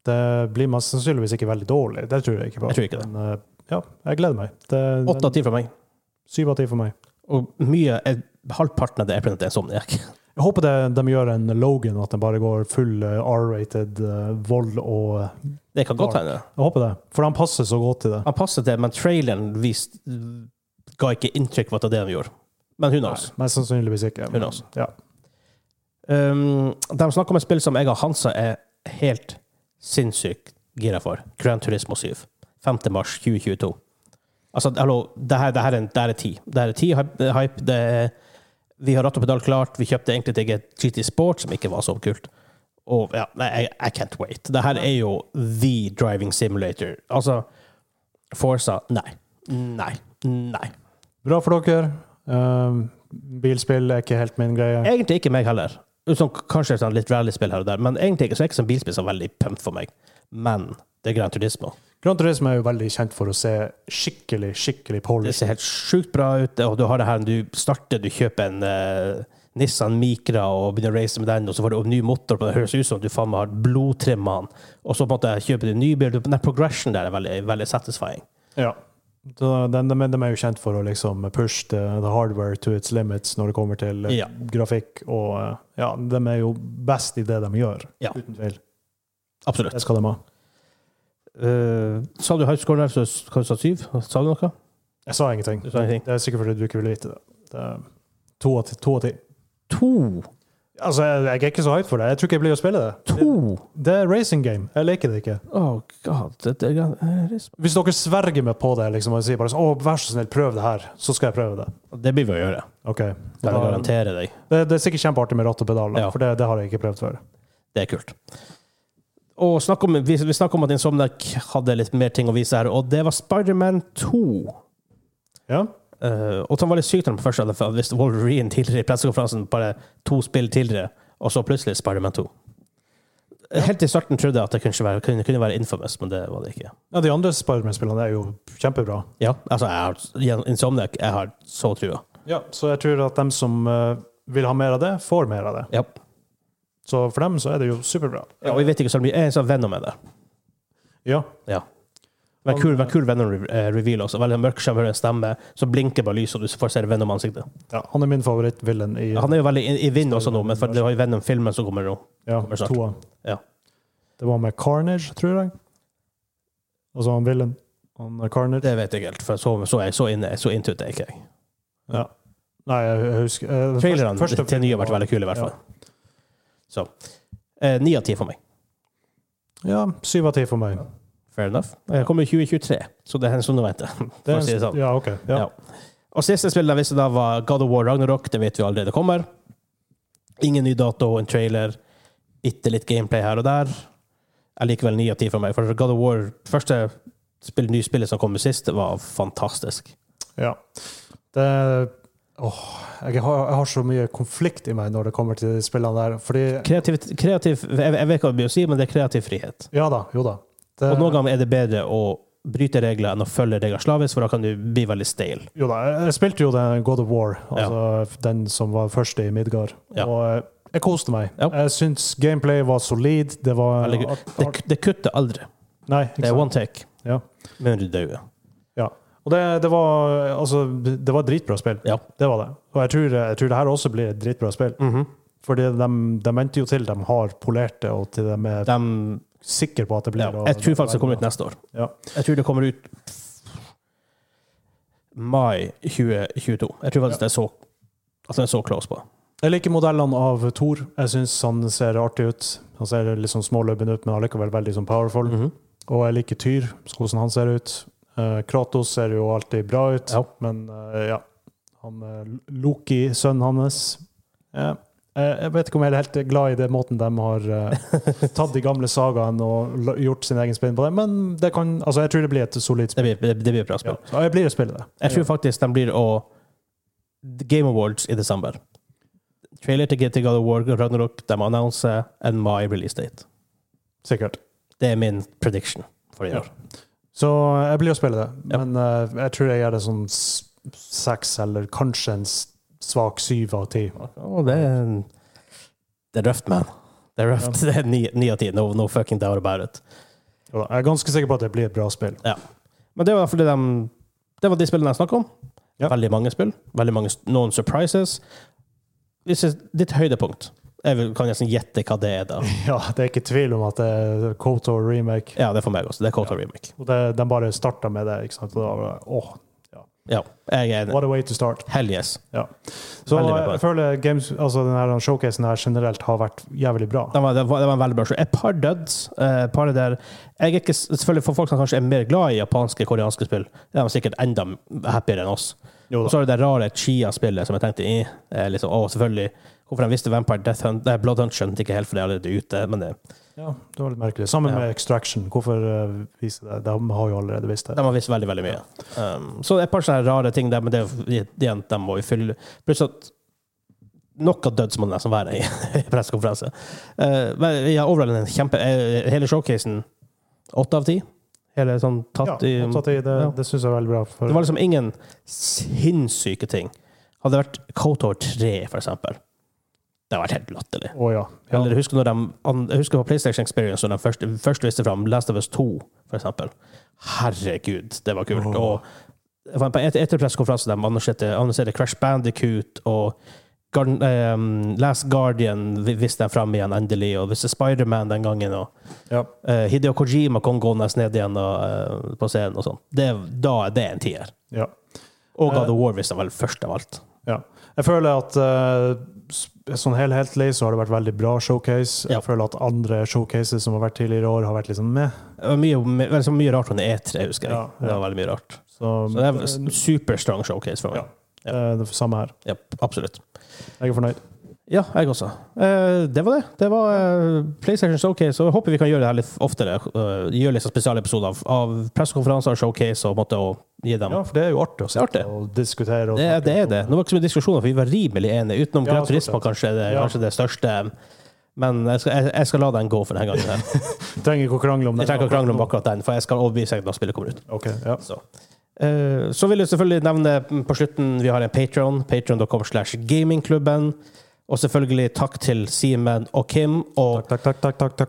B: Det blir mest sannsynligvis ikke veldig dårlig, det tror jeg ikke på.
A: Jeg tror ikke det.
B: Men, eh, ja, jeg gleder meg. Det,
A: Åtte av ti fra meg.
B: Syv av ti for meg.
A: Og mye, er- halvparten av det er pga. Insomniac.
B: Jeg håper det, de gjør en Logan, at de bare går full eh, R-rated eh, vold og
A: Det kan godt hende.
B: Jeg håper det, for han passer så godt til det.
A: Han passet det, men traileren vist, ga ikke inntrykk av at det er det de gjorde. Men who knows?
B: Nei, Mest sannsynligvis ikke.
A: Who knows?
B: Ja.
A: Ehm, Um, de snakker om et spill som jeg og Hansa er helt sinnssykt gira for. Grand Turismo 7. 5. mars 2022. Altså, hallo, det her, det her er en- det her er ti. Det her er ti hype. det er hype, Det er, vi har ratt og pedal klart. Vi kjøpte egentlig til eget GT Sport, som ikke var så kult. Og ja, nei, I, I can't wait. Det her er jo the driving simulator. Altså, Forsa Nei. Nei. Nei.
B: Bra for dere. Eh, bilspill er ikke helt min greie.
A: Egentlig ikke meg heller. Utenom k- kanskje sånn litt rallyspill her og der, men egentlig ikke, så er ikke sånn bilspill så veldig pumped for meg. Men det er Gran Turismo.
B: Gran Turismo er jo veldig kjent for å se skikkelig, skikkelig
A: Det
B: polish.
A: ser helt sjukt bra ut, og du har det her du starter, du kjøper en eh, Nissan Micra og begynner å race med den, og så får du en ny motor på den, det høres ut som du faen meg har blodtrimma den, og så på en måte kjøper du en ny bil. Den der progression der er veldig, veldig satisfying.
B: Ja. Så den, de, de er jo kjent for å liksom pushe the, the hardware to its limits når det kommer til eh,
A: Ja.
B: grafikk. Og eh, ja, de er jo best i det de gjør,
A: Ja.
B: uten tvil.
A: Absolutt.
B: Det skal de ha.
A: Eh, sa du high score der, så s- hva sa du, syv? Sa du noe?
B: Jeg sa ingenting.
A: Du sa ingenting.
B: Det er sikkert fordi du ikke ville vite det. det er to av ti. To av ti.
A: To.
B: Altså, jeg, jeg er ikke så hyped for det. Jeg tror ikke jeg blir å spille det.
A: To!
B: Det er racing game. Jeg liker det ikke.
A: Oh god. Det, det, det, det,
B: Hvis dere sverger meg på det liksom, og sier bare sånn, å, vær så snill, prøv det her, så skal jeg prøve det.
A: det blir vi å gjøre.
B: Ok.
A: Kan jeg
B: Da,
A: garantere deg.
B: det, det er sikkert kjempeartig med ratt og pedal, da,
A: Ja.
B: for det, det har jeg ikke prøvd før.
A: Det er kult. Og snakk om, vi, vi snakket om at Insomniac hadde litt mer ting å vise her, og det var Spiderman 2.
B: Ja?
A: Eh, og det var litt sykt når de først hadde for hvis Wolverine tidligere i pressekonferansen bare to spill tidligere, og så plutselig Spiderman 2. Helt i starten trodde jeg at det kunne være, kunne, kunne være infamous, men det var det ikke.
B: ja, de andre Spiderman-spillene er jo kjempebra.
A: Ja, altså, jeg har, Insomniac, jeg har så trua.
B: Ja. Så jeg tror at dem som eh, vil ha mer av det, får mer av det.
A: Ja.
B: Så for dem så er det jo superbra.
A: Ja, og vi vet ikke så mye. Jeg er en sånn venn med det.
B: Ja.
A: Det var kul, var kul Venom-reveal også. Veldig mørk skjerm, hører en stemme, så blinker bare lyset, og du får se Venom-ansiktet.
B: ja. Han er min favorittvillen i
A: Han er jo veldig i, i vind også nå, men for det var jo Venom-filmen som kommer nå.
B: ja,
A: kommer snart.
B: toa.
A: Ja.
B: Det var med Carnage, tror jeg. Altså han villen. Han er Carnage.
A: Det vet jeg ikke helt, for så, så, er jeg, så, inne, så into det er ikke jeg.
B: Nei, jeg husker eh, den
A: Trailerne
B: første- første
A: til nye har vært
B: filmen var-
A: veldig kule, i hvert fall. Så eh, Ni av ti for meg.
B: Ja, syv av ti for meg.
A: Fair enough. Jeg kommer i 2023, så det er en stund å vente. (laughs) For
B: Det er
A: å si det
B: en,
A: sånn.
B: ja, ok. Ja.
A: Ja. Og siste spillet jeg visste da, var God of War Ragnarok. Det vet vi allerede kommer. Ingen ny dato, en trailer, bitte litt gameplay her og der. Jeg liker vel ni av ti fra meg, for God of War, første spill, nyspillet som kom sist, det var fantastisk.
B: ja. Det Åh, jeg har, jeg har så mye konflikt i meg når det kommer til de spillene der. Fordi
A: Kreativ, kreativ jeg, jeg vet ikke hva det blir å si, men det er kreativ frihet.
B: Ja da, jo da. Det,
A: Og noen ganger er det bedre å bryte regler enn å følge regler slavisk, for da kan du bli veldig stale.
B: Jo da, jeg- jeg spilte jo den God of War, altså den som var først i Midgard.
A: Ja.
B: Og eh, jeg koste meg.
A: Ja.
B: Jeg syns gameplay var solid. Det var
A: Veldig gu- Det, det kutter aldri.
B: Nei, ikke
A: Det er
B: sant.
A: one take.
B: Ja.
A: Men du dauer.
B: Og det, det var altså Det var et dritbra spill.
A: Ja.
B: Det var det. Og jeg tror, jeg tror det her også blir et dritbra spill. Fordi de, de venter jo til de har polert det, og til de er
A: De
B: sikre på at det blir
A: Ja,
B: å-
A: jeg tror faktisk det kommer ut neste år.
B: Ja.
A: Jeg tror det kommer ut mai 2022. Jeg tror faktisk det er så at den er så close på.
B: Jeg liker modellene av Thor. Jeg syns han ser artig ut. Han ser litt sånn småløbben ut, men allikevel veldig sånn
A: Mhm.
B: powerful. Og jeg liker Tyr, hvordan han ser ut. Eh, Kratos ser jo alltid bra ut,
A: Ja.
B: men eh, ja. Han, eh, Loki, sønnen hans ja. Eh, Jeg vet ikke om jeg er helt glad i det måten de har
A: (laughs)
B: eh, tatt de gamle sagaene og la- gjort sin egen spinn på det, men det kan, altså, jeg tror det blir et solid
A: Det
B: spill.
A: blir, det, det blir et bra spill.
B: Ja. Så Jeg blir å spille det.
A: Jeg tror faktisk den blir å Game Awards i desember. Trailer til GT God of War og Ragnarok de annonser en mai release date.
B: Sikkert.
A: Det er min prediction for i
B: Ja.
A: år.
B: Så eh, jeg blir å spille det,
A: Ja.
B: men eh, jeg tror jeg gjør det sånn s- seks, eller kanskje en s- svak syv av ti.
A: Å, det er Det er røft, man. Det er røft. (laughs) Det er ni ni av ti. No, no fucking doubt about it.
B: Og Jeg er ganske sikker på at det blir et bra spill.
A: Men det var fordi de Det var de spillene jeg snakket om.
B: Ja.
A: Veldig mange spill. Veldig mange, noen surprises. Hvis jeg, ditt høydepunkt Jeg vil- kan nesten gjette hva det er, da.
B: (laughs) Ja, Det er ikke tvil om at det er Kotor remake.
A: Ja, det er for meg også. Det er Kotor Remake.
B: Og det, de bare starta med det, ikke sant? og da var det åh.
A: Ja, jeg er enig.
B: What a way to start.
A: Hell yes.
B: Så eh,
A: Veldig med på det.
B: jeg føler games, altså denne showcasen her generelt har vært jævlig bra.
A: Det var, det var, det var en veldig bra show. Et par duds. eh, et par der. Jeg er ikke, selvfølgelig For folk som kanskje er mer glad i japanske koreanske spill, de er sikkert enda happier enn oss.
B: Jo
A: Og
B: da.
A: så er det det rare Chia-spillet som jeg tenkte i. Eh, liksom, å, selvfølgelig. Hvorfor de visste Vampire Death Hunt Nei, Blood Hunt skjønte ikke helt, for det er allerede ute. Men eh, det,
B: Ja, det var litt merkelig. Sammen
A: Ja.
B: med Extraction. Hvorfor eh, vise det? De har jo allerede visst det.
A: de har visst veldig, veldig mye. Um, så et par sånne rare ting der, men det er jo- igjen, de må jo fylle Pluss at noe døds må det nesten være i (laughs) i pressekonferanse. Eh, men ja, overall en kjempe eh, Hele showcasen, åtte av ti. Hele sånn
B: Ja,
A: tatt i
B: opptatt i det,
A: ja.
B: det syns jeg er veldig bra.
A: Det var
B: For,
A: liksom ingen sinnssyke ting. Hadde det vært Kotor 3, for eksempel, det hadde vært helt latterlig.
B: å ja. ja.
A: Eller husker når de, an- jeg husker på PlayStation Experience, når de først, først viste fram Last of Us 2, for eksempel. Herregud, det var kult.
B: Åh.
A: Og det var en- etter, etter pressekonferansen de annonserte, annonserte Crash Bandicoot og Garden, ehm, Last Guardian vi- viste de fram igjen endelig, og viste Spiderman den gangen. Og,
B: Ja.
A: eh, Hideo Kojima kom gående ned igjen og, eh, på scenen og sånn. Det- Da er det en tier.
B: Ja.
A: Og God
B: Eh.
A: of War visste vel først av alt.
B: Jeg føler at eh, s- sånn helt heltlig så har det vært veldig bra showcase.
A: Ja.
B: Jeg føler at andre showcases som har vært tidligere i år, har vært liksom med.
A: Det var mye, vel, så mye rart under E3, husker jeg.
B: Ja, ja.
A: Det var veldig mye rart.
B: Så,
A: Så det er en superstrong showcase for meg.
B: Ja. eh, det er samme her.
A: Ja, absolutt.
B: Jeg er fornøyd.
A: Ja, jeg også. Eh, det var det. Det var eh, PlayStation Showcase, og jeg håper vi kan gjøre det her litt oftere. eh, gjøre litt sånn spesialepisoder av, av pressekonferanser og showcase og måtte å gi dem
B: Ja, for det er jo artig å
A: Det er artig.
B: sitte og diskutere. Og
A: det, er-
B: snakke
A: det er
B: om-
A: det. Nå var det ikke så mye diskusjoner, for vi var rimelig enige. Utenom
B: Ja,
A: Gran Turismo,
B: stort
A: kanskje, er det,
B: Ja.
A: kanskje det største. Men jeg skal, jeg, jeg skal la den gå for denne gangen. her.
B: Trenger ikke å krangle om det.
A: Jeg trenger ikke å krangle om akkurat den, for jeg skal overbevise deg når spillet kommer ut.
B: Ok, ja.
A: Så. Eh, så vil jeg selvfølgelig nevne på slutten vi har en Patron. Patron.com slash gamingklubben. Og selvfølgelig takk til Simen og Kim. Og
B: Takk, takk, takk, takk, takk, takk.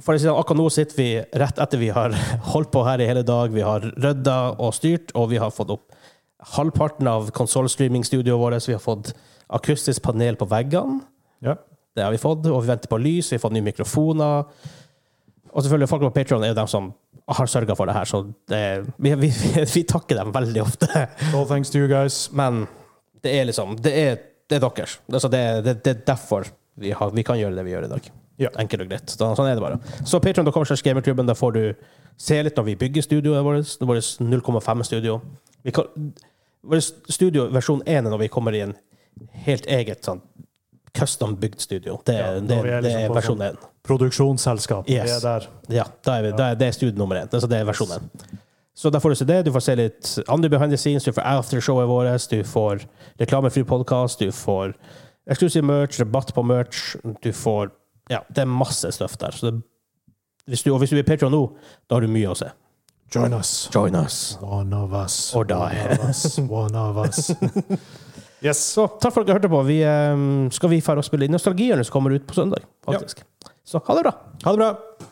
A: for å si det, sånn, akkurat nå sitter vi rett etter vi har (laughs) holdt på her i hele dag. Vi har rydda og styrt, og vi har fått opp halvparten av konsollstreamingstudioet vårt. Vi har fått akustisk panel på veggene.
B: Ja.
A: Det har vi fått. Og vi venter på lys, vi har fått nye mikrofoner. Og selvfølgelig, folk på Patreon er jo dem som har sørga for det her, så det, vi, vi, (laughs) vi takker dem veldig ofte.
B: All thanks to you guys.
A: Men det er liksom Det er, det er deres. Altså, det, er- det, det er derfor vi, har, vi kan gjøre det vi gjør i dag.
B: Ja.
A: Enkelt og greit. Så, sånn er det bare. Så patreon.com slash gamerklubben, der får du se litt når vi bygger studioet vårt. Det er vårt 0,5-studio. Vårt studio versjon 1 er når vi kommer i en helt eget sånn custom-bygd studio. Det,
B: Ja,
A: er-
B: når
A: det,
B: vi er
A: er- det er
B: liksom på
A: versjon
B: sånn-
A: 1.
B: Produksjonsselskap. Vi
A: Yes.
B: er der.
A: Ja, da er vi, da er, det er studio nummer én. Altså det er versjonen. Så der får du se det. Du får se litt andre behind the scenes, du får aftershowet vårt, du får reklamefri podkast, du får eksklusiv merch, rabatt på merch, du får Ja, det er masse stuff der. Så det, hvis du, og hvis du blir Patreon nå, da har du mye å se.
B: Join us.
A: Join us.
B: One of us.
A: Or die.
B: One of us. One of
A: (laughs)
B: us. yes.
A: Så takk for at dere hørte på. Vi, eh, skal vi dra og spille Nostalgihjørnet som kommer ut på søndag, faktisk. Så ha det bra.
B: Ha det bra.